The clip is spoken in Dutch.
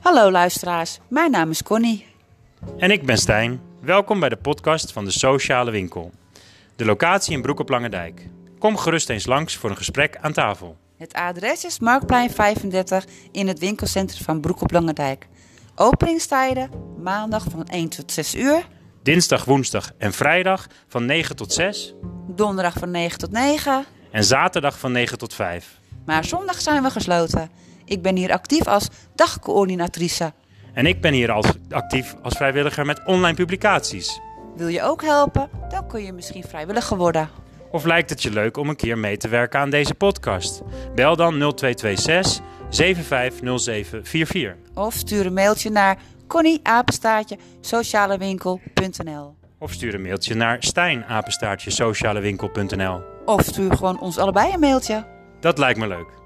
Hallo luisteraars, mijn naam is Connie. En ik ben Stijn. Welkom bij de podcast van de Sociale Winkel. De locatie in Broek op Lange Dijk. Kom gerust eens langs voor een gesprek aan tafel. Het adres is Marktplein 35 in het winkelcentrum van Broek op Langendijk. Openingstijden maandag van 1 tot 6 uur, Dinsdag, woensdag en vrijdag van 9 tot 6 donderdag van 9 tot 9, en zaterdag van 9 tot 5. maar zondag zijn we gesloten. Ik ben hier actief als dagcoördinatrice. En ik ben hier als, actief als vrijwilliger met online publicaties. Wil je ook helpen? Dan kun je misschien vrijwilliger worden. Of lijkt het je leuk om een keer mee te werken aan deze podcast? Bel dan 0226 750744 Of stuur een mailtje naar connieapenstaartje socialewinkel.nl of stuur een mailtje naar stijnapenstaartjesocialewinkel.nl. Of stuur gewoon ons allebei een mailtje. Dat lijkt me leuk.